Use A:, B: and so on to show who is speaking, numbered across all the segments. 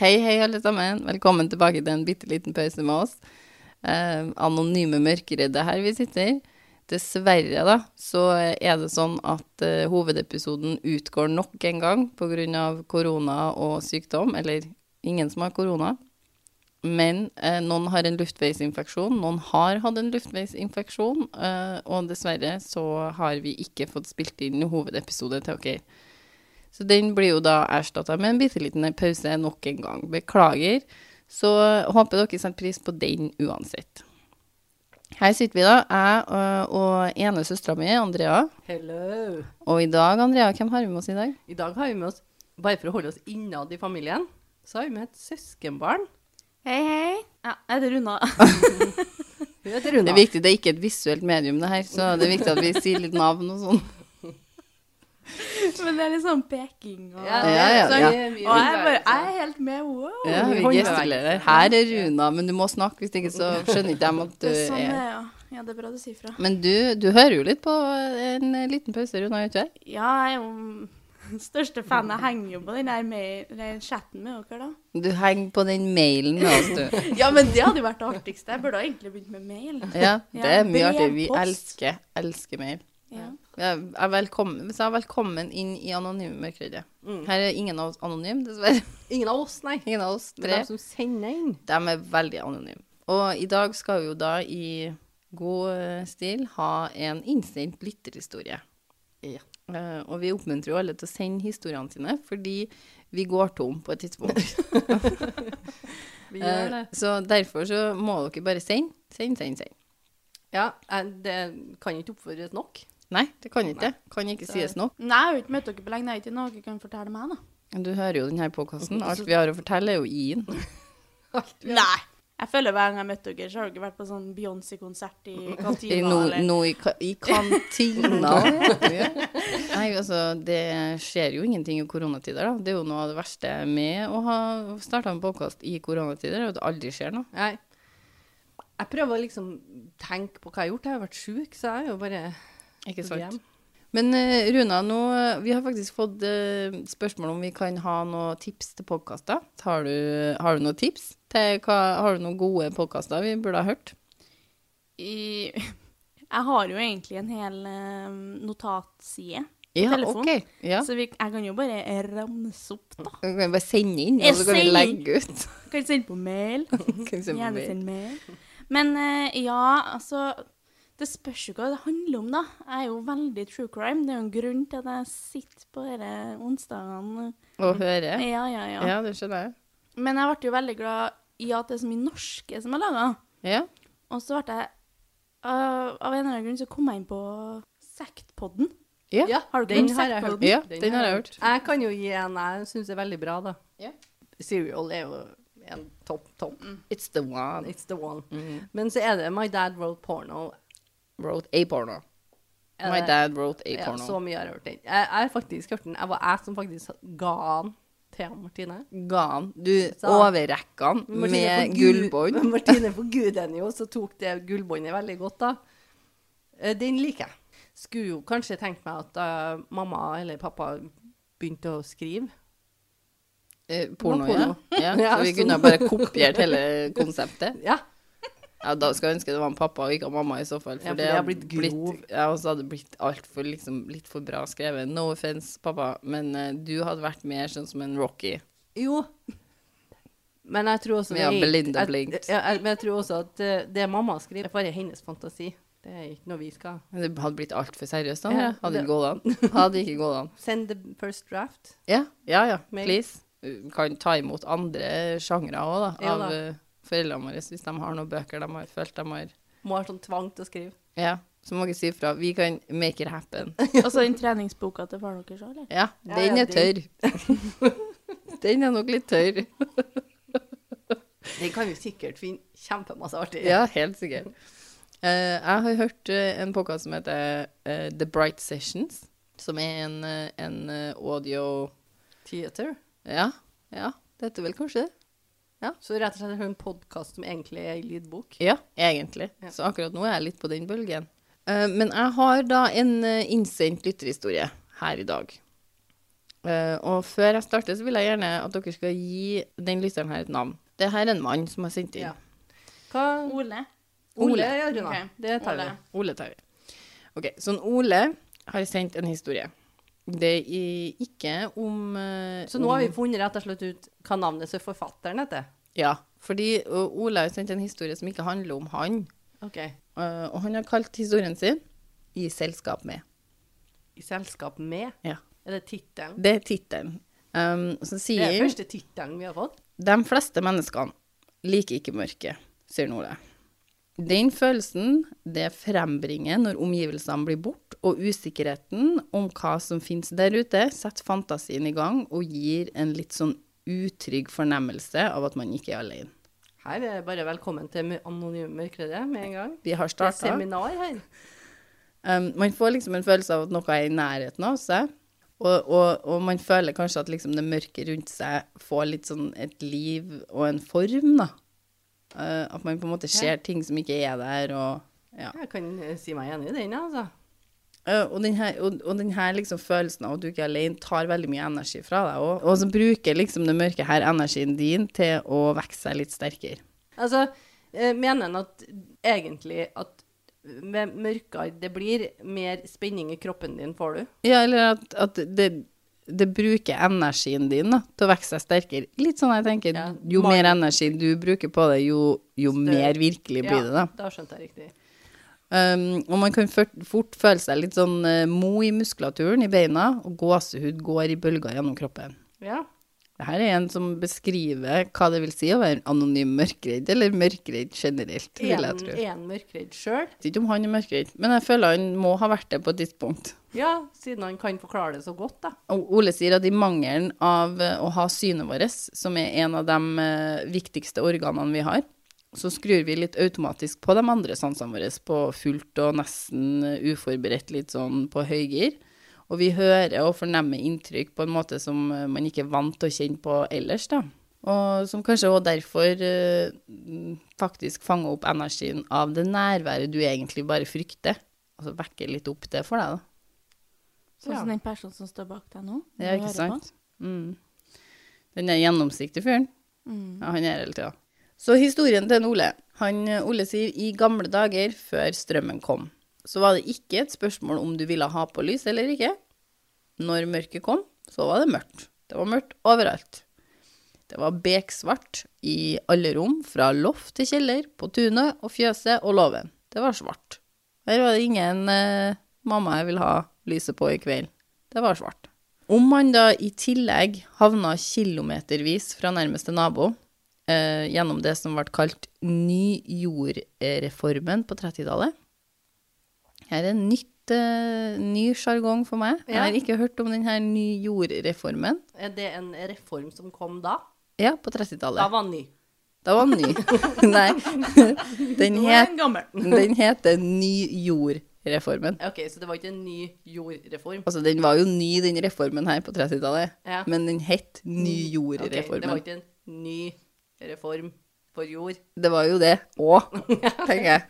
A: Hei, hei, alle sammen. Velkommen tilbake til en bitte liten pause med oss. Eh, anonyme mørkeredde her vi sitter. Dessverre, da, så er det sånn at eh, hovedepisoden utgår nok en gang pga. korona og sykdom, eller ingen som har korona. Men eh, noen har en luftveisinfeksjon, noen har hatt en luftveisinfeksjon, eh, og dessverre så har vi ikke fått spilt inn hovedepisode til dere. Så den blir jo da erstatta med en bitte liten pause nok en gang. Beklager. Så håper dere setter pris på den uansett. Her sitter vi, da, jeg øh, og ene søstera mi, Andrea.
B: Hello.
A: Og i dag, Andrea, hvem har vi med oss i dag?
B: I dag har vi med oss, bare for å holde oss innad i familien, så har vi med et søskenbarn.
C: Hei, hei. Ja, jeg heter Runa.
B: Hun heter
A: Det
B: Runa.
A: er viktig, det er ikke et visuelt medium, det her, så det er viktig at vi sier litt navn og sånn.
C: Men det er litt sånn peking og
B: Ja,
A: Ja, ja, ja.
B: vi- vi-
C: Og jeg, er bare, jeg er helt med. Wow.
A: Ja, vi
B: Håndverk.
A: gestikulerer. Her er Runa, men du må snakke, hvis ikke så skjønner ikke dem at du
C: Det er sånn det
A: er
C: er, ja. Ja, det er bra du sier fra.
A: Men du, du hører jo litt på en liten pause, Runa, gjør du ikke det?
C: Ja, jeg er jo den største fan. Jeg henger jo på den der med, den chatten med dere, da.
A: Du henger på den mailen med oss, du.
C: Ja, men det hadde jo vært det artigste. Jeg burde ha egentlig begynt med mail.
A: Ja,
C: Ja,
A: det er mye artig. Vi
C: brevpost.
A: elsker, elsker mail.
C: Ja.
A: Jeg er velkommen, hvis jeg er velkommen inn i anonyme mørkeredde.
B: Mm.
A: Her er ingen av oss anonym, dessverre.
B: Ingen av oss, nei.
A: Ingen av oss
B: Men
A: tre.
B: de som sender inn.
A: De er veldig anonyme. Og i dag skal vi jo da i god eh, stil ha en innsendt lytterhistorie.
B: Ja.
A: Eh, Og vi oppmuntrer jo alle til å sende historiene sine, fordi vi går tom på et tidspunkt.
B: Vi
A: Eh,
B: gjør det.
A: Så derfor så må dere bare sende, sende, sende, sende.
B: Ja, eh, det kan ikke oppfordres nok.
A: Nei, det kan ikke. Kan ikke
B: Så-
A: sies nok.
C: Nei, jeg har jo ikke møtt dere på lenge. Det er ikke noe dere kan fortelle meg, da.
A: Du hører jo denne podkasten. Alt vi har å fortelle, er jo i den.
B: Alt vi-
C: Nei. Jeg føler hver gang jeg har møtt dere, så har dere vært på sånn Beyoncé-konsert i
A: I
C: kantina.
A: no-
C: eller-
A: no i, ka- i kantina. Nei, altså, det skjer jo ingenting i koronatider, da. Det er jo noe av det verste med å ha starta en podkast i koronatider, er jo at det aldri skjer noe.
B: Nei. Jeg prøver å liksom tenke på hva jeg har gjort. Jeg har vært syk, så jeg er jo bare
A: Ikke
B: hjem.
A: sant. Men eh, Runa, nå, eh, vi har faktisk fått eh, spørsmål om vi kan ha noen tips til podkaster. Har, du- har du noen tips? Til hva, har du noen gode podkaster vi burde ha hørt?
C: I, jeg har jo egentlig en hel eh, notatside,
A: Ja,
C: telefon.
A: ok. Ja.
C: så vi, jeg kan jo bare ramse opp, da.
A: Du kan bare sende inn, og
C: Jeg
A: så kan vi
C: sender inn.
A: legge ut.
C: Kan sende på mail.
A: Kan sende på
C: Gjerne
A: mail.
C: send mail. Men eh, ja, altså Det spørs jo hva det handler om, da. Jeg er jo veldig true crime. Det er jo en grunn til at jeg sitter på disse onsdagene.
A: Å høre.
C: Ja, ja, ja.
A: Ja, det skjønner jeg.
C: Men jeg ble jo veldig glad i at det er så mye norske som er laga.
A: Ja.
C: Og så ble jeg øh, Av en eller annen grunn så kom jeg inn på Sektpodden.
A: Ja.
B: Ja,
C: Har du
B: den
C: ikke
B: har
C: sett
B: jeg
C: på
B: hørt.
C: den?
A: Ja, den har jeg hørt.
B: Jeg kan jo gi en jeg syns er veldig bra, da.
A: Ja.
B: Serial er jo en topp, topp.
A: It's the one.
B: It's the one.
A: Mhm.
B: Men så er det My Dad Wrote Porno.
A: Wrote a porno.
B: Er
A: My
B: det-
A: dad wrote a
B: Ja,
A: porno.
B: så mye har jeg hørt den. Jeg jeg har faktisk hørt den. Jeg var jeg som faktisk ga den til Martine.
A: Ga han. Du
B: Sa-
A: overrekka han med
B: forgu-
A: gullbånd.
B: Martine forgudet den jo, så tok det gullbåndet veldig godt, da. Eh, Den liker jeg. Skulle jo kanskje tenkt meg at eh, mamma eller pappa begynte å skrive.
A: Eh, porno,
B: porno.
A: ja. ja.
B: Ja,
A: Så vi
B: sånn.
A: kunne ha bare kopiert hele konseptet.
B: Ja.
A: Ja, da skulle jeg ønske det var en pappa og ikke en mamma i så fall.
B: Ja, for
A: det
B: det har
A: hadde
B: blitt grov.
A: ja, og så hadde det blitt altfor liksom, litt for bra skrevet. No offense, pappa, men eh, du hadde vært mer sånn som en Rocky.
B: Jo. Men jeg tror også
A: Vi har
B: det er-
A: Belinda
B: jeg-
A: Blinked.
B: Ja, jeg, men jeg tror også at eh, det mamma skriver, det er bare hennes fantasi. Det er ikke noe vi skal
A: Men Det hadde blitt altfor seriøst, da.
B: Ja,
A: Ja, hadde
B: det-
A: ikke gått an. Hadde ikke gått an.
B: Send the first draft.
A: Ja, ja, ja.
B: Mail.
A: Please. Vi Kan ta imot andre sjangre òg, da.
B: Ja
A: Av
B: da.
A: eh, foreldrene våre, hvis de har noen bøker de har følt de har
B: Må ha sånn tvang til å skrive.
A: Ja, så må dere si ifra. Vi kan make it happen.
C: Og så Altså den treningsboka til faren deres òg, eller?
A: Ja,
B: Ja,
A: den
B: ja,
A: er tørr. den er nok litt tørr.
B: Den kan vi sikkert finne kjempemasse artig.
A: Ja, helt sikkert. Eh, jeg har hørt eh, en podkast som heter eh, The Bright Sessions, som er en, eh, en eh, audio
B: Theater.
A: Ja, ja, dette vel kanskje det?
B: Så rett og slett er det en podkast som egentlig er en lydbok.
A: Ja, egentlig.
B: Ja.
A: Så akkurat nå er jeg litt på den bølgen. Eh, men jeg har da en eh, innsendt lytterhistorie her i dag. Eh, og før jeg starter, så vil jeg gjerne at dere skal gi den lytteren her et navn. Det her er en mann som har sendt inn.
B: Ja. Hva
C: Ole.
B: Ole, ja, Runa.
C: Ok,
B: Det tar vi.
C: Ole.
A: Ole tar vi. Ok, så en Ole har sendt en historie. Det er ikke om eh,
B: Så nå har vi
A: om-
B: funnet rett og slett ut hva navnet til forfatteren heter.
A: Ja, fordi ø, Ole har sendt en historie som ikke handler om han.
B: Ok.
A: Eh, og han har kalt historien sin 'I selskap med'.
B: I selskap med.
A: Ja.
B: Er det tittelen?
A: Det er tittelen. Um, så
B: Det er
A: sier
B: første tittelen vi har fått.
A: De fleste menneskene liker ikke mørket, sier Nole. Den følelsen det frembringer når omgivelsene blir bort, og usikkerheten om hva som finnes der ute, setter fantasien i gang og gir en litt sånn utrygg fornemmelse av at man ikke er alene.
B: Her er det bare velkommen til mø- Anonyme mørkledere med en gang.
A: Vi har
B: Det er
A: starta.
B: seminar her.
A: Um, man får liksom en følelse av at noe er i nærheten av seg, og, og, og man føler kanskje at liksom det mørke rundt seg får litt sånn et liv og en form, da. Uh, at man på en måte ser ting som ikke er der, og ja.
B: Jeg kan eh, si meg enig i den, altså.
A: Uh, og den her, og, og den her liksom følelsen av at du ikke er alene, tar veldig mye energi fra deg, og, og så bruker liksom det mørke her energien din til å vokse seg litt sterkere.
B: Altså, eh, mener en at egentlig at med mørkere det blir, mer spenning i kroppen din får du.
A: Ja, eller at, at det, det bruker energien din da, til å vokse seg sterkere. Litt sånn jeg tenker,
B: Ja,
A: jo
B: mange-
A: mer energi du bruker på det, jo, jo
B: Større.
A: mer virkelig blir det da.
B: Da skjønte jeg riktig.
A: Um, og man kan fort, fort føle seg litt sånn eh, mo i muskulaturen i beina, og gåsehud går i bølger gjennom kroppen.
B: Ja.
A: Dette er en som beskriver hva det vil si å være en anonym mørkredd, eller mørkredd generelt, vil jeg
B: En,
A: tro. Jeg
B: en mørkredd sjøl.
A: vet ikke om han er mørkredd, men jeg føler han må ha vært det på et tidspunkt.
B: Ja, siden han kan forklare det så godt, da.
A: Og Ole sier at i mangelen av eh, å ha synet vårt, som er en av de eh, viktigste organene vi har, så skrur vi litt automatisk på de andre sansene våre, på fullt og nesten eh, uforberedt, litt sånn på høygir. Og vi hører og fornemmer inntrykk på en måte som eh, man ikke er vant til å kjenne på ellers, da. Og som kanskje også derfor eh, mm, faktisk fanger opp energien av det nærværet du egentlig bare frykter. Altså vekker litt opp det for deg, da.
C: Sånn
B: Ja.
C: som den personen som står bak deg nå.
A: Ja,
C: når
A: ikke
C: du hører på.
A: sant? Mm. Den er gjennomsiktig fyren.
C: Mm.
A: Ja, han er hele tida. Så historien til en Ole. Han, eh, Ole sier i gamle dager, før strømmen kom, så var det ikke et spørsmål om du ville ha på lys eller ikke. Når mørket kom, så var det mørkt. Det var mørkt overalt. Det var beksvart i alle rom, fra loft til kjeller, på tunet og fjøset og låven. Det var svart. Her var det ingen eh, 'mamma, jeg vil ha lyset på i kveld'. Det var svart. Om man da i tillegg havna kilometervis fra nærmeste nabo, eh, gjennom det som ble kalt ny jordreformen på 30-tallet. Her er en nytt, eh, ny sjargong for meg. Jeg
B: Ja.
A: har ikke hørt om denne ny jordreformen.
B: Er det en reform som kom da?
A: Ja, på
B: Da
A: 30-tallet.
B: var den ny.
A: Da var den ny. Nei, den,
C: Nå er
A: het,
C: den gammel.
A: den heter ny jordreformen.
B: OK, så det var ikke en ny jordreform?
A: Altså, den var jo ny, den reformen her på 30-tallet,
B: Ja.
A: men den het ny
B: Ok, det
A: jordreformen.
B: var ikke en ny reform for jord.
A: det var jo det òg, tenker jeg.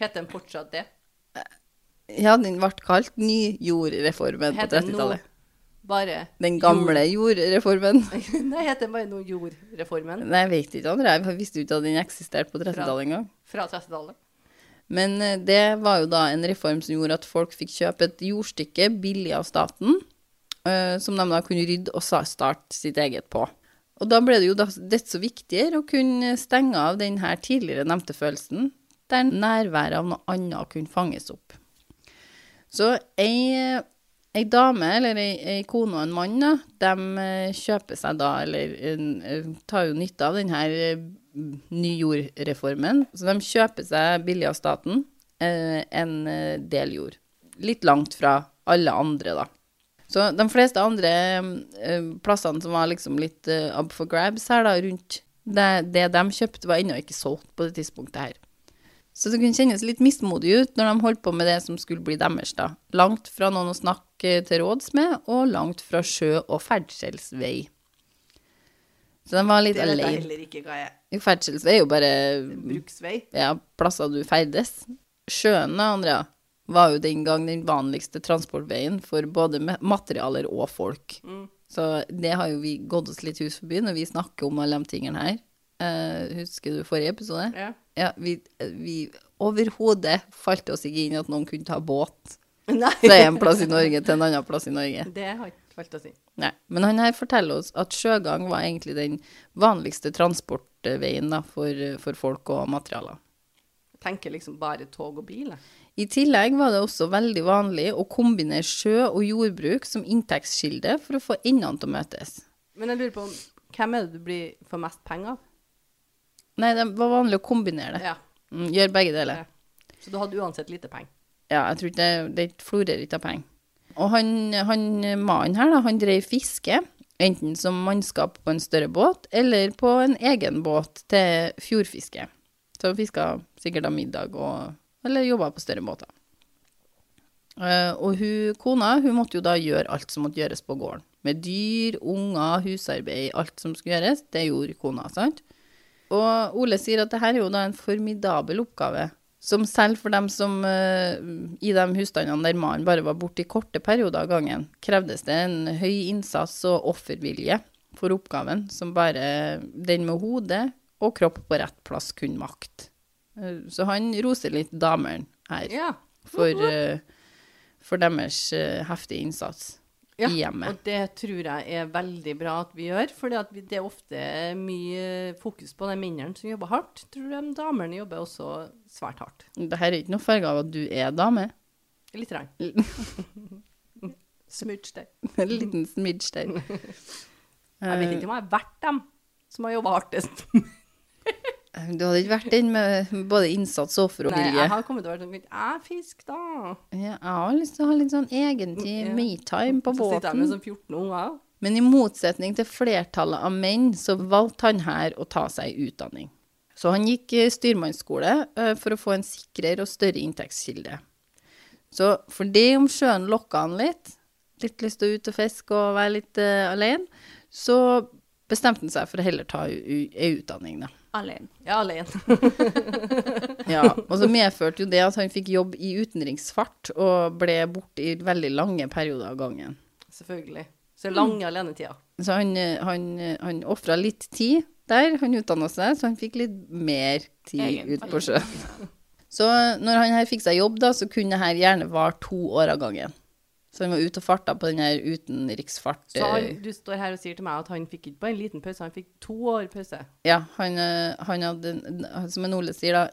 B: Heter den fortsatt det?
A: Ja, den ble kalt ny jordreformen på
B: Heter den nå
A: 30-tallet.
B: Bare
A: Den gamle jordreformen.
B: Nei, heter den bare nå jordreformen
A: Nei, jeg vet ikke, André. Jeg visste jo ikke at den eksisterte på 30-tallet engang.
B: fra 30-tallet?
A: Men eh, det var jo da en reform som gjorde at folk fikk kjøpe et jordstykke billig av staten, eh, som de da kunne rydde og sa- starte sitt eget på. Og da ble det jo da desto viktigere å kunne stenge av den her tidligere nevnte følelsen, der nærværet av noe annet kunne fanges opp. Så eh, ei, ei dame, eller ei, ei kone og en mann, da, de eh, kjøper seg da, eller en- eh, tar jo nytte av denne nyjordreformen. Så de kjøper seg billig av staten eh, en eh, del jord. Litt langt fra alle andre, da. Så de fleste andre eh, plassene som var liksom litt eh, up for grabs her, da, rundt det, det de kjøpte, var ennå ikke solgt på det tidspunktet her. Så det kunne kjennes litt mismodig ut når de holdt på med det som skulle bli deres, da. Langt fra noen å snakke til råds med, og langt fra sjø og ferdselsvei. Så de var litt
B: Det vet jeg
A: alene.
B: heller ikke hva jeg
A: Jo, Ferdselsvei er jo bare
B: Bruksvei.
A: ja, plasser du ferdes. Sjøen, da, Andrea, var jo den gang den vanligste transportveien for både ma- materialer og folk.
B: Mm.
A: Så det har jo vi gått oss litt hus forbi når vi snakker om alle de tingene her. Eh, husker du forrige episode?
B: Ja.
A: Ja, vi, vi overhodet falt oss ikke inn at noen kunne ta båt fra
B: Nei,
A: en plass i Norge til en annen plass i Norge.
B: det har ikke falt å si.
A: Nei. Men han her forteller oss at sjøgang var egentlig den vanligste transportveien da, for, for folk og materialer.
B: Jeg tenker liksom bare tog og bil. jeg.
A: I tillegg var det også veldig vanlig å kombinere sjø og jordbruk som inntektskilde for å få endene til å møtes.
B: Men jeg lurer på om, hvem er det du blir for mest penger av?
A: Nei, det var vanlig å kombinere det.
B: Ja.
A: Mm, gjør begge deler.
B: Ja. Så du hadde uansett lite penger.
A: Ja, jeg tror ikke det, det florerer ikke av penger. Og han, han mannen her, da, han drev fiske, enten som mannskap på en større båt, eller på en egen båt til fjordfiske. Så han fiska sikkert av middag, og, eller jobba på større båter. Eh, og hun, kona hun måtte jo da gjøre alt som måtte gjøres på gården. Med dyr, unger, husarbeid, alt som skulle gjøres. Det gjorde kona, sant? Og Ole sier at det her er jo da en formidabel oppgave, som selv for dem som eh, i de husstandene der mannen bare var borte i korte perioder av gangen, krevdes det en høy innsats og offervilje for oppgaven, som bare den med hodet og kropp på rett plass kunne makte. Eh, Så han roser litt damene her
B: Ja.
A: for, eh, for deres eh, heftige innsats
B: Ja,
A: i hjemmet.
B: Og det tror jeg er veldig bra at vi gjør, for det er ofte mye fokus på de mennene som jobber hardt. Tror de damene jobber også svært hardt.
A: Dette er ikke noe farge av at du er dame.
B: Litt. rann. Smudge der.
A: En liten smidge der.
B: Jeg vet ikke om jeg har vært dem som har jobba hardest.
A: Eh, Du hadde ikke vært den med både innsats og offer og
B: Nei,
A: vilje.
B: jeg har kommet til å være sånn Jeg fisk, da.
A: Ja, jeg har lyst til å ha litt sånn egentid
B: Ja.
A: me-time på
B: Så sitter jeg
A: båten.
B: med sånn 14 unger.
A: Men i motsetning til flertallet av menn, så valgte han her å ta seg utdanning. Så han gikk eh, styrmannsskole eh, for å få en sikrere og større inntektskilde. Så for det om sjøen lokka han litt, litt lyst til å ut og fiske og være litt eh, alene, så bestemte han seg for å heller ta u- u- ei utdanning, da.
C: Alene.
B: Jeg er alene.
A: Ja, og så medførte jo det at han fikk jobb i utenriksfart og ble borte i veldig lange perioder av gangen.
B: Selvfølgelig. Så lange alenetider.
A: Så han, eh, han, eh, han ofra litt tid der, han utdanna seg, så han fikk litt mer tid
C: Egentlig.
A: ut på sjøen. Så eh, når han her fikk seg jobb, da, så kunne det her gjerne vare to år av gangen. Så han var ute og farta på den her utenriksfart.
B: Så han,
A: eh,
B: du står her og sier til meg at han fikk ikke bare en liten pause, han fikk to år pause.
A: Ja, han, eh, han hadde, en- som en Ole sier da,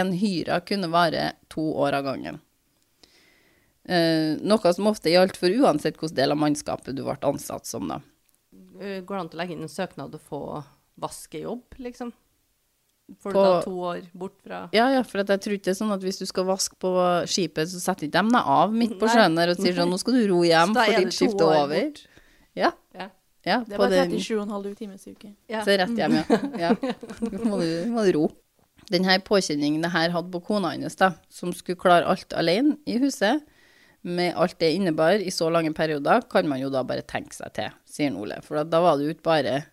A: en hyra kunne vare to år av gangen. Eh, noe som ofte gjaldt for uansett hvilken del av mannskapet du ble ansatt som da.
B: Eh, Går det an til å legge inn en søknad og få vaskejobb, liksom? Får du
A: På-
B: da to år bort fra
A: Ja, ja, for at jeg tror ikke det er sånn at hvis du skal vaske på skipet, så setter ikke dem deg av midt på
B: Nei.
A: sjøen der og sier sånn, nå skal du ro hjem,
B: Så da
A: for
B: er
A: ditt
B: det to
A: skifte
B: år
A: er over.
B: bort.
A: Ja,
B: Ja.
A: ja.
C: Det
A: på
C: var
A: den-
C: 37,5 timers uke.
B: Ja.
A: Så rett hjem, ja. ja. Da må du, må du ro. Denne påkjenningen det her hadde på kona hennes, da, som skulle klare alt alene i huset, med alt det innebar i så lange perioder, kan man jo da bare tenke seg til, sier han Ole. For at da var det jo ikke bare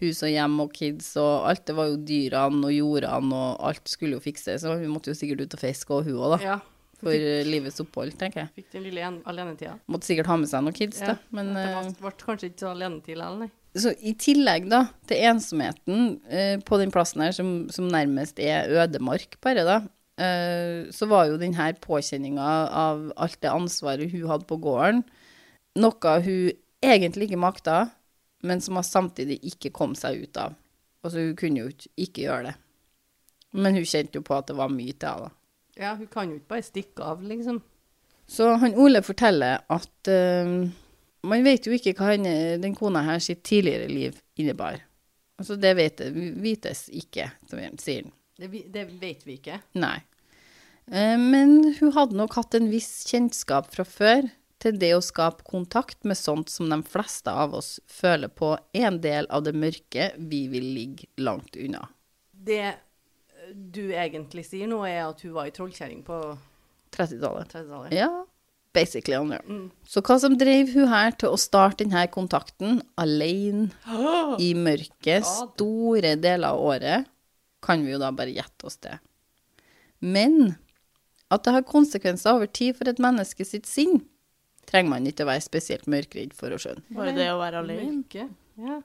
A: hus og hjem og kids og alt, det var jo dyrene og jordene og alt skulle jo fikses. Så vi måtte jo sikkert ut og fiske og hun òg, da.
B: ja.
A: For eh, livets opphold, tenker jeg.
B: Fikk den lille en- alenetida.
A: Måtte sikkert ha med seg noen kids, da.
B: Ja,
A: Men
B: det
A: eh,
B: var, ble kanskje ikke så alenetid likevel, nei.
A: så i tillegg da, til ensomheten eh, på den plassen her, som, som nærmest er ødemark bare da, eh, så var jo denne påkjenninga av alt det ansvaret hun hadde på gården, noe hun egentlig ikke makta, men som hun samtidig ikke kom seg ut av. Altså, hun kunne jo ikke- ikke gjøre det. Men hun kjente jo på at det var mye til henne. da.
B: Ja, hun kan jo ikke bare stikke av, liksom.
A: Så han Ole forteller at eh, man vet jo ikke hva henne, den kona her sitt tidligere liv innebar. Altså det vet, vites ikke, som han sier. han.
B: Det, vi- det vet vi ikke.
A: Nei. Eh, men hun hadde nok hatt en viss kjennskap fra før til det å skape kontakt med sånt som de fleste av oss føler på er en del av det mørke vi vil ligge langt unna.
B: Det eh, du egentlig sier nå, er at hun var ei trollkjerring på
A: 30-tallet.
B: 30-tallet.
A: Ja, basically han gjør.
B: Mm.
A: Så hva som drev hun her til å starte denne kontakten alene i mørket
B: God.
A: store deler av året, kan vi jo da bare gjette oss til. Men At det har konsekvenser over tid for et menneske sitt sinn, trenger man ikke å være spesielt mørkredd for å skjønne.
C: Bare det å være alene.
B: Mørke. Ja.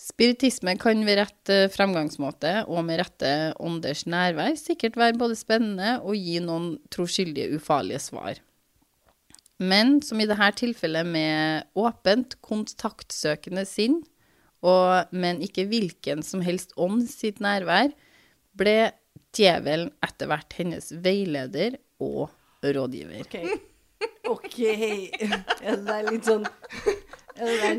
A: Spiritisme kan ved rett eh, fremgangsmåte og med rette ånders nærvær sikkert være både spennende og gi noen troskyldige, ufarlige svar. Men som i dette tilfellet med åpent, kontaktsøkende sinn, og, men ikke hvilken som helst ånd sitt nærvær, ble djevelen etter hvert hennes veileder og rådgiver.
B: OK. OK. Er det der litt sånn Er det der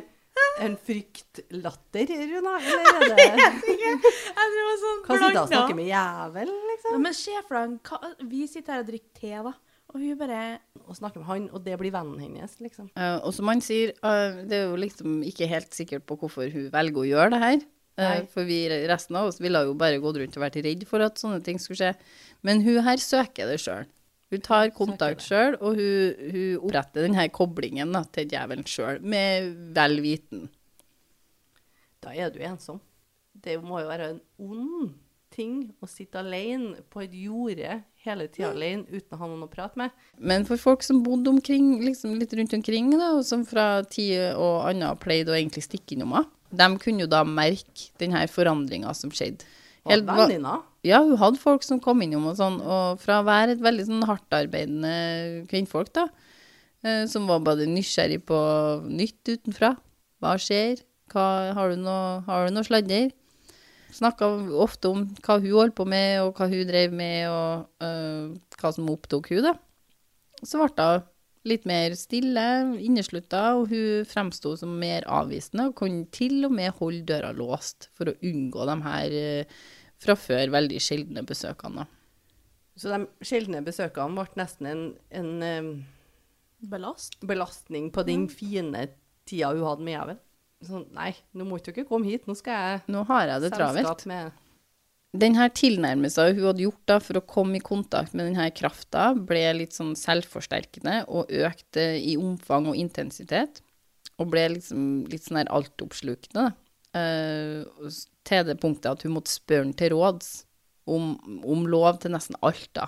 B: en fryktlatter, Runa? Eller er det
C: Jeg tror det var sånn
B: Hva sier da?
C: blandet.
B: Snakker med jævel, liksom?
C: Ja, men se for deg, hva- vi sitter her og drikker te, da. Og hun bare
B: Og snakker med han, og det blir vennen hennes, liksom.
A: Eh, og som han sier, eh, det er jo liksom ikke helt sikkert på hvorfor hun velger å gjøre det her. Eh,
B: Nei.
A: for vi resten av oss ville jo bare gått rundt og vært redd for at sånne ting skulle skje. Men hun her søker det sjøl. Hun tar kontakt sjøl, og hun, hun oppretter denne koblingen da, til djevelen sjøl, med vel viten.
B: Da er du ensom. Det må jo være en ond ting å sitte alene på et jorde hele tida alene uten å ha noen å prate med.
A: Men for folk som bodde omkring, liksom litt rundt omkring, da, og som fra tid og anna pleide å egentlig stikke innom henne, de kunne jo da merke denne forandringa som skjedde.
B: Og
A: Helt va-
B: venninner.
A: Ja, hun hadde folk som kom innom og sånn, og fra å være et veldig sånn hardtarbeidende kvinnfolk, da, eh, som var bare nysgjerrig på nytt utenfra. Hva skjer? Hva, har, du noe, har du noe sladder? Snakka ofte om hva hun holdt på med, og hva hun drev med, og eh, hva som opptok hun, da. Så ble hun litt mer stille, inneslutta, og hun fremsto som mer avvisende, og kunne til og med holde døra låst for å unngå de her eh, fra før veldig sjeldne besøkene. da.
B: Så de sjeldne besøkene ble nesten en, en eh,
C: Belast.
B: belastning på den fine tida hun hadde med jævel. Sånn, nei, nå må ikke dere komme hit, nå skal jeg
A: Nå har jeg det travelt.
B: med
A: Denne tilnærmelsen hun hadde gjort da, for å komme i kontakt med denne krafta, ble litt sånn selvforsterkende og økte i omfang og intensitet. Og ble liksom litt sånn her altoppslukende. da. Eh, og s- til det punktet at hun måtte spørre han til råds om, om lov til nesten alt, da.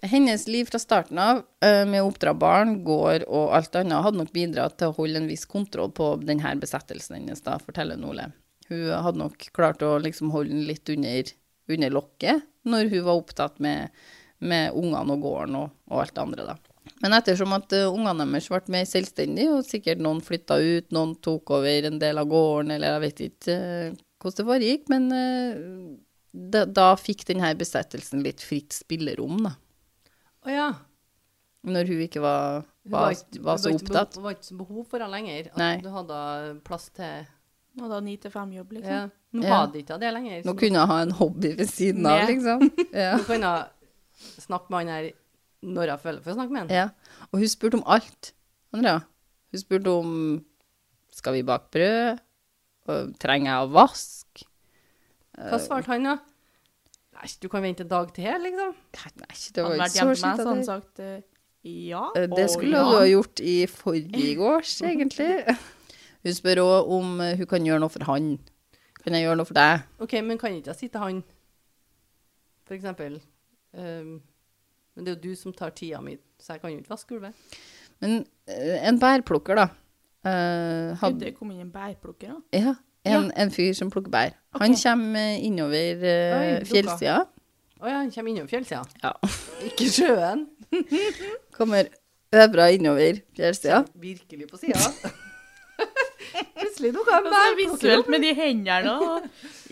A: Hennes liv fra starten av, eh, med å oppdra barn, gård og alt annet, hadde nok bidratt til å holde en viss kontroll på denne besettelsen hennes, da, forteller Nole. Hun hadde nok klart å liksom holde den litt under, under lokket når hun var opptatt med, med ungene og gården og, og alt det andre, da. Men ettersom at eh, ungene deres ble mer selvstendige, og sikkert noen flytta ut, noen tok over en del av gården, eller jeg vet ikke eh, hvordan det foregikk, men eh, da, da fikk denne besettelsen litt fritt spillerom, da
B: Å ja.
A: når hun ikke var,
B: Hun
A: var,
B: ikke-
A: var
B: hun
A: så
B: ikke beho-
A: opptatt.
B: Hun var ikke så behov for henne lenger. At
A: Nei.
B: du hadde plass til
C: Og da ni til fem-jobb, liksom.
B: ja. Nå
A: Ja.
B: hadde ikke hun det lenger.
A: Nå
B: så
A: kunne hun ha en hobby ved siden av,
C: Nei.
A: liksom. Ja.
B: Hun kan da snakke med han her når hun føler for å snakke med han.
A: ja. Og hun spurte om alt, Andrea. Hun spurte om skal vi bake brød, Og trenger jeg å vaske?
B: Hva svarte han da? Nei, du kan vente en dag til her, liksom.
A: Nei, det
C: Hadde
A: var ikke
C: vært
A: så
C: hjemme med,
A: skitt.
C: så
A: at
C: hadde han
A: det-
C: sagt eh, ja.
A: Eh, Det
C: og
A: skulle
C: ja.
A: hun ha gjort i forgårs, egentlig. Hun spør òg om eh, hun kan gjøre noe for han. Kan jeg gjøre noe for deg?
B: OK, men kan ikke jeg si til han, for eksempel ehm, Men det er jo du som tar tida mi, så jeg kan jo ikke vaske gulvet.
A: Men eh, en bærplukker, da. eh,
C: Gud, Det kom inn en bærplukker, da.
A: Ja, en, en fyr som plukker bær. Han
C: Ok.
A: kommer innover eh,
B: Oi, dukker.
A: fjellsida.
B: Å ja, han kommer innom fjellsida.
A: Ja.
B: Ikke sjøen.
A: Kommer øvra innover fjellsida.
B: Virkelig på sida. Plutselig dukka en
C: Og så
B: bærplukker opp.
C: visuelt med de hendene og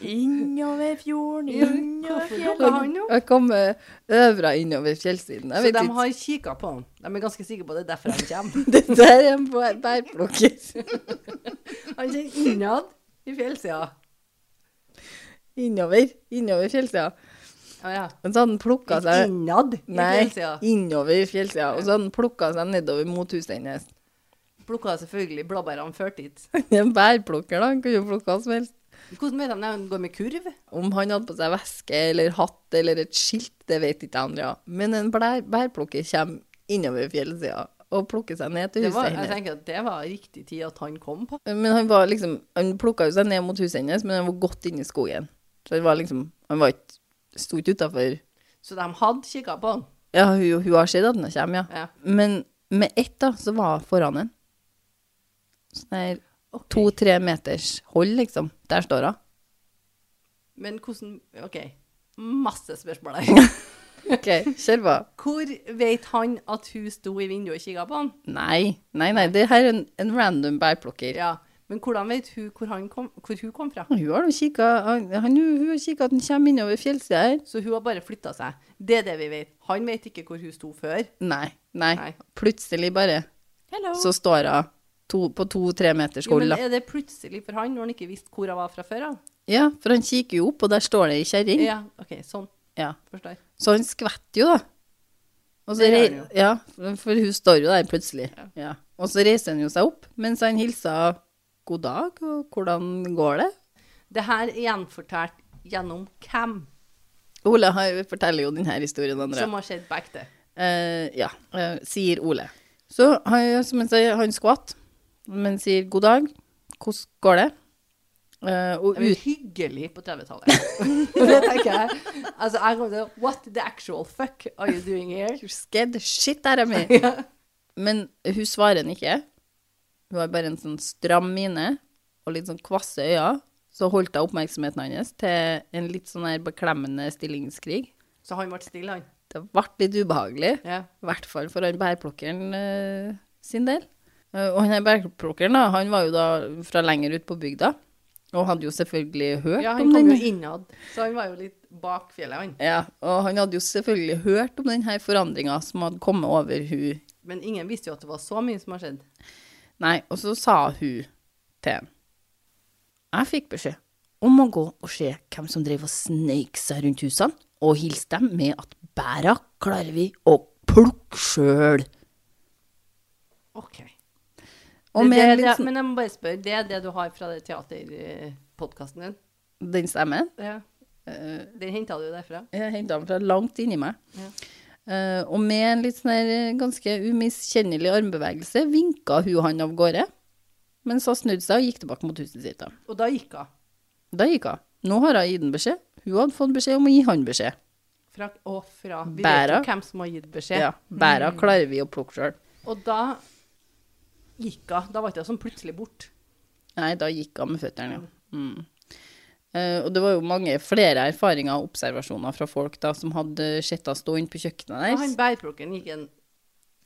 C: Innover fjorden, innover
B: Hvorfor
C: fjell.
B: dukka han opp?
A: Og kommer øvra innover fjellsiden. Jeg
B: Så
A: vet
B: de
A: ikke.
B: har kikka på han. De er ganske sikre på at det er derfor han kommer.
A: Det der er en bær- bærplukker.
B: Han kommer innad i fjellsida.
A: Innover. Innover fjellsida.
B: Å ja.
A: Og så hadde han plukka
B: Ikke
A: seg
B: innad i
A: Nei,
B: fjellsida.
A: innover fjellsida. Og så hadde han plukka seg nedover mot huset hennes.
B: Plukka selvfølgelig blåbærene før dit.
A: Han er en bærplukker, da. Han kunne jo plukke hva som helst.
B: Hvordan vet de når han går med kurv?
A: Om han hadde på seg veske eller hatt eller et skilt, det vet ikke Andrea. Men en blær, bærplukker kommer innover fjellsida og plukker seg ned til
B: Det
A: huset
B: var, jeg
A: hennes.
B: tenker at det var riktig tid at han kom på.
A: Men han var liksom Han plukka jo seg ned mot huset hennes, men han var godt inne i skogen. Så han var liksom Han var ikke Sto ikke utafor.
B: Så de hadde kikka på han.
A: Ja, hun, hun har sett at den kommer, ja.
B: Ja.
A: Men med ett da, så var hun foran henne. Sånn der to-tre meters hold, liksom. Der står hun.
B: Men hvordan OK. Masse spørsmål her.
A: Ok, kjør på.
B: Hvor vet han at hun sto i vinduet og kikka på han?
A: Nei, nei, nei, det her er en, en random bærplukker.
B: Ja. Men hvordan vet hun hvor, han kom, hvor hun kom fra?
A: Hun har jo kikket, han- han- hun har kikket at den kommer innover fjellsida her.
B: Så hun har bare flytta seg. Det er det vi vet. Han vet ikke hvor hun sto før.
A: Nei, nei,
B: Nei.
A: plutselig bare,
C: Hello.
A: så står hun to, på to-tre meters
B: Jo,
A: hold
B: men
A: da.
B: er det plutselig for han, når han ikke visste hvor hun var fra før av?
A: Ja, for han kikker jo opp, og der står det ei kjerring.
B: Ja, OK, sånn.
A: Ja.
B: Forstår.
A: Så han skvetter jo, da. Og så
B: Det gjør
A: rei-
B: han jo.
A: ja, for hun står jo der plutselig. Ja. Og så reiser han jo seg opp mens han hilser god dag og hvordan går det?
B: Det her er gjenfortalt gjennom hvem
A: Ole har, forteller jo denne historien, Andrea.
B: som har skjedd på ekte.
A: Eh, ja, eh, sier Ole. Så han, som han sier, han skvatt, men sier god dag, hvordan går det? Eh, og
B: Det var
A: ut,
B: hyggelig på 30-tallet. det tenker jeg. Altså, jeg kommer til What the actual fuck are you doing here?
A: You're scared the shit out of me. Men hun svarer han ikke. Hun har bare en sånn stram mine og litt sånn kvasse øyne. Så holdt hun oppmerksomheten hans til en litt sånn her beklemmende stillingskrig.
B: Så han ble stille, han.
A: Det ble litt ubehagelig.
B: Ja.
A: I hvert fall for han bærplukkeren eh, sin del. Eh, og han her bærplukkeren da, han var jo da fra lenger ut på bygda, og hadde jo selvfølgelig hørt
B: ja, han
A: om
B: kom
A: den.
B: jo innad, så han var jo litt bak fjellet, han.
A: Ja, og han hadde jo selvfølgelig hørt om den her forandringa som hadde kommet over hun.
B: Men ingen visste jo at det var så mye som har skjedd.
A: Nei, og så sa hun til han. Jeg fikk beskjed om å gå og se hvem som drev og sneik seg rundt husene, og hilse dem med at bæra klarer vi å plukke sjøl.
B: OK.
A: Og
B: Det-
A: med
B: det,
A: litt
B: det,
A: sånn-
B: men jeg må bare spørre, det er det du har fra teaterpodkasten din?
A: den stemmen.
B: Ja. Den henta du derfra?
A: eh, Jeg hentet den fra langt inni meg.
B: Ja.
A: Eh, og med en litt sånn her eh, ganske umiskjennelig armbevegelse vinka hun han av gårde, mens hun snudde seg og gikk tilbake mot huset sitt. Da,
B: Og da gikk hun.
A: da gikk hun. Nå har hun gitt ham beskjed. Hun hadde fått beskjed om å gi han beskjed.
B: Fra, og fra. Vi
A: Bæra.
B: vet jo hvem som har gitt beskjed.
A: Ja, Bæra
B: Mm.
A: klarer vi å plukke sjøl.
B: Og da gikk hun. Da var ikke hun sånn plutselig bort.
A: Nei, da gikk hun med føttene, ja. Mm. Eh, og det var jo mange flere erfaringer og observasjoner fra folk da, som hadde sett henne stå inne på kjøkkenet
B: Og
A: der.
B: han bærplukkeren gikk, en,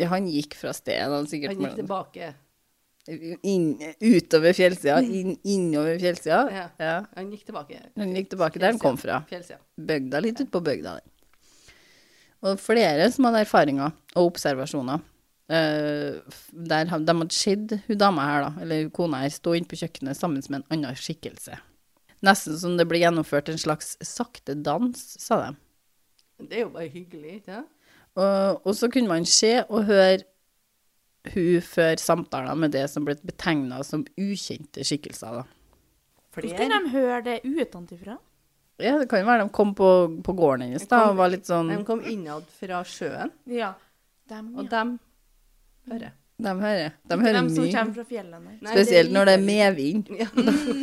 A: Ja, han gikk fra stedet. Han sikkert
B: han gikk tilbake.
A: inn, utover fjellsida, inn, innover fjellsida.
B: Mm. Ja.
A: Ja.
B: Han gikk tilbake.
A: Han gikk tilbake der han kom fra.
B: Fjellsida.
A: Bygda litt ut på bygda der. Og flere som hadde erfaringer og observasjoner. Eh, f- der, ha- de hadde sett hun dama her, da, eller hun kona her, stå inne på kjøkkenet sammen med en annen skikkelse. Nesten som det ble gjennomført en slags sakte dans, sa de.
B: Det er jo bare hyggelig, ikke sant?
A: Og, og så kunne man se og høre hun før samtaler med det som ble betegna som ukjente skikkelser. da.
C: Hvordan kunne de høre det utenfra?
A: Ja, det kan jo være de kom på, på gården hennes da, og var litt sånn
B: De kom innad fra sjøen,
C: Ja. Dem, ja.
B: og dem hører.
A: De hører, de
C: Ikke
A: hører
C: dem som
A: mye.
C: kommer fra fjellene.
B: Nei,
A: Spesielt når det er
B: lite-
A: medvind.
B: Ja.
C: Mm.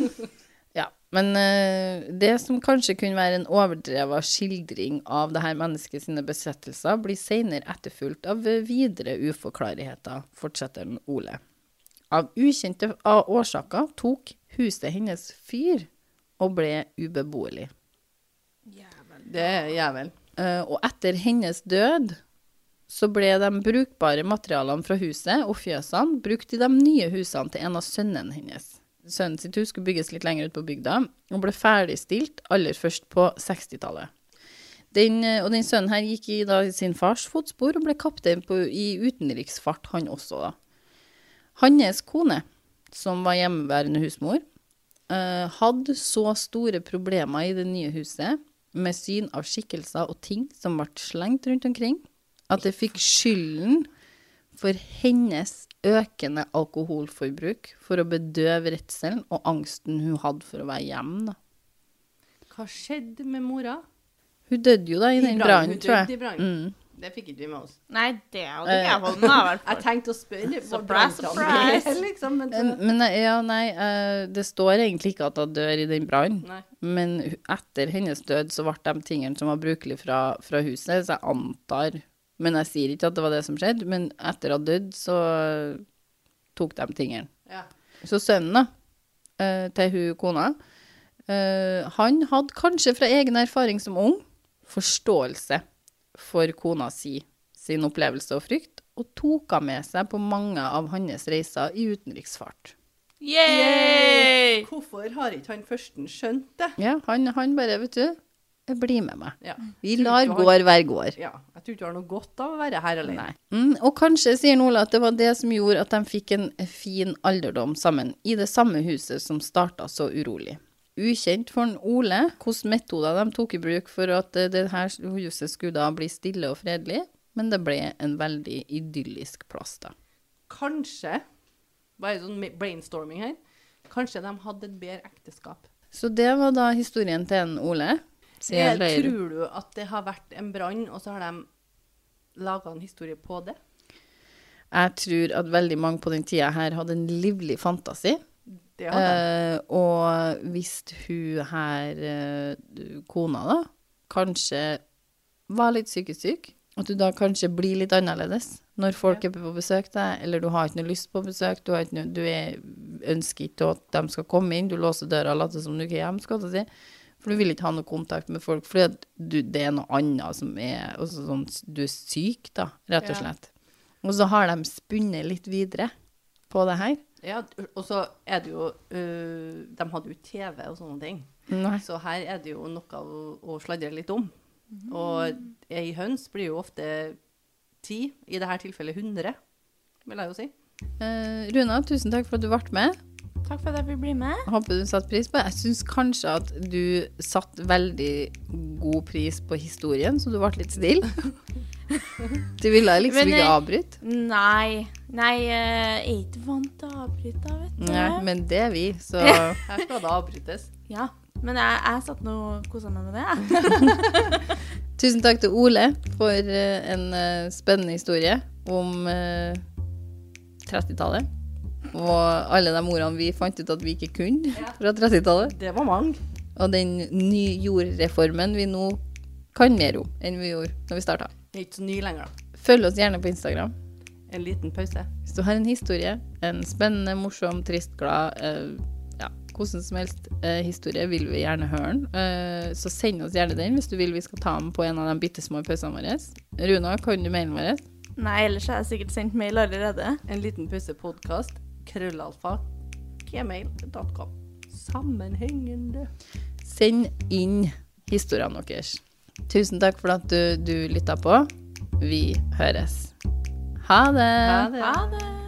A: Ja, men eh, det som kanskje kunne være en overdrevet skildring av det her mennesket sine besettelser, blir senere etterfulgt av videre uforklarligheter, fortsetter den Ole. Av ukjente a- årsaker tok huset hennes fyr og ble ubeboelig.
C: Jævel.
B: Det er jævel.
A: Eh, og etter hennes død så ble de brukbare materialene fra huset og fjøsene brukt i de nye husene til en av sønnene hennes. Sønnen sitt hus skulle bygges litt lenger ut på bygda, og ble ferdigstilt aller først på 60-tallet. Den, eh, og den sønnen her gikk i da, sin fars fotspor og ble kaptein på, i utenriksfart, han også, da. Hans kone, som var hjemmeværende husmor, eh, hadde så store problemer i det nye huset med syn av skikkelser og ting som ble slengt rundt omkring, at det fikk skylden for hennes økende alkoholforbruk for å bedøve redselen og angsten hun hadde for å være hjemme. Da.
B: Hva skjedde med mora?
A: Hun døde jo da i
B: I
A: den
B: brannen,
A: brannen,
B: hun
A: tror
B: døde i
A: jeg. Mm.
B: brannen. Det fikk ikke vi med oss.
C: Nei, det hadde ikke jeg fått med meg, i hvert
B: Jeg
C: fall.
B: tenkte å spørre.
C: Surprise,
B: hvordan
C: surprise.
B: det er, Liksom, men
A: Mm.
B: så,
A: Men nei, ja, nei, eh, det står egentlig ikke at hun dør i den brannen.
B: nei.
A: Men hu- etter hennes død så ble de tingene som var brukelige fra, fra huset, så jeg antar Men jeg sier ikke at det var det som skjedde, men etter at han døde, så tok de tingene.
B: Ja.
A: Så sønnen da, eh, til hun kona, eh, han hadde kanskje fra egen erfaring som ung forståelse for kona si, sin opplevelse og frykt, og tok henne med seg på mange av hans reiser i utenriksfart.
C: Yay!
B: Hvorfor har ikke han førsten skjønt det?
A: Ja, han, han bare, vet du, bli med meg.
B: Ja.
A: Vi lar gård være gård.
B: ja. Jeg tror ikke du har noe godt av å være her alene.
A: Nei. Mm, og kanskje sier Nola at det var det som gjorde at de fikk en fin alderdom sammen, i det samme huset som starta så urolig. Ukjent for en Ole hvilke metoder de tok i bruk for at eh, det her huset skulle da bli stille og fredelig, men det ble en veldig idyllisk plass, da.
B: Kanskje Bare sånn brainstorming her. Kanskje de hadde et bedre ekteskap.
A: Så det var da historien til en Ole. Sier
B: Eh,
A: Leir.
B: Tror du at det har vært en brann, og så har de laga en historie på det?
A: Jeg tror at veldig mange på den tida her hadde en livlig fantasi.
B: Det hadde de.
A: Eh, og hvis hun her, eh, kona da, kanskje var litt psykisk syk, at du da kanskje blir litt annerledes når folk er på besøk deg, eller du har ikke noe lyst på besøk, du, har ikke noe, du er, ønsker ikke at de skal komme inn, du låser døra og later som du ikke er hjemme, skal jeg til å si. For du vil ikke ha noe kontakt med folk, fordi at du, det er noe annet som er, også sånn, du er syk da, rett og
B: Ja.
A: slett. Og så har de spunnet litt videre på det her.
B: Ja, og så er det jo øh, De hadde jo TV og sånne ting.
A: Nei.
B: Så her er det jo noe å, å sladre litt om. Mm. Og ei høns blir jo ofte ti, i dette tilfellet 100, vil jeg jo si.
A: Eh, Runa, tusen takk for at du ble med.
C: Takk for at jeg fikk bli med.
A: Jeg håper du satte pris på det. Jeg syns kanskje at du satte veldig god pris på historien, så du ble litt stille. Du ville liksom
C: Men, eh,
A: ikke avbryte.
C: Nei. Nei, eh, jeg er ikke vant til å avbryte, vet du.
A: Nei, men det er vi, så
B: Her skal det avbrytes.
C: Ja. Men jeg, jeg satt nå og kosa meg med det. jeg.
A: Tusen takk til Ole for eh, en eh, spennende historie om eh, 30-tallet. Og alle de ordene vi fant ut at vi ikke kunne fra 30-tallet.
B: Det var mange.
A: Og den nye jordreformen vi nå kan mer om enn vi gjorde når vi starta.
B: Det er ikke så ny lenger, da.
A: Følg oss gjerne på Instagram.
B: En liten pause.
A: Hvis du har en historie, en spennende, morsom, trist, glad, eh, ja, hvordan som helst eh, historie, vil vi gjerne høre den. Eh, så send oss gjerne den hvis du vil vi skal ta den på en av de bitte små pausene våre. Runa, kan du mailen vår?
C: Nei, ellers har jeg sikkert sendt mail allerede.
B: En liten pause podkast. Krøllalfa. Gmail.com. Sammenhengende.
A: Send inn historiene deres. Tusen takk for at du, du lytta på. Vi høres. Ha det!
B: Ha det.
C: Ha det.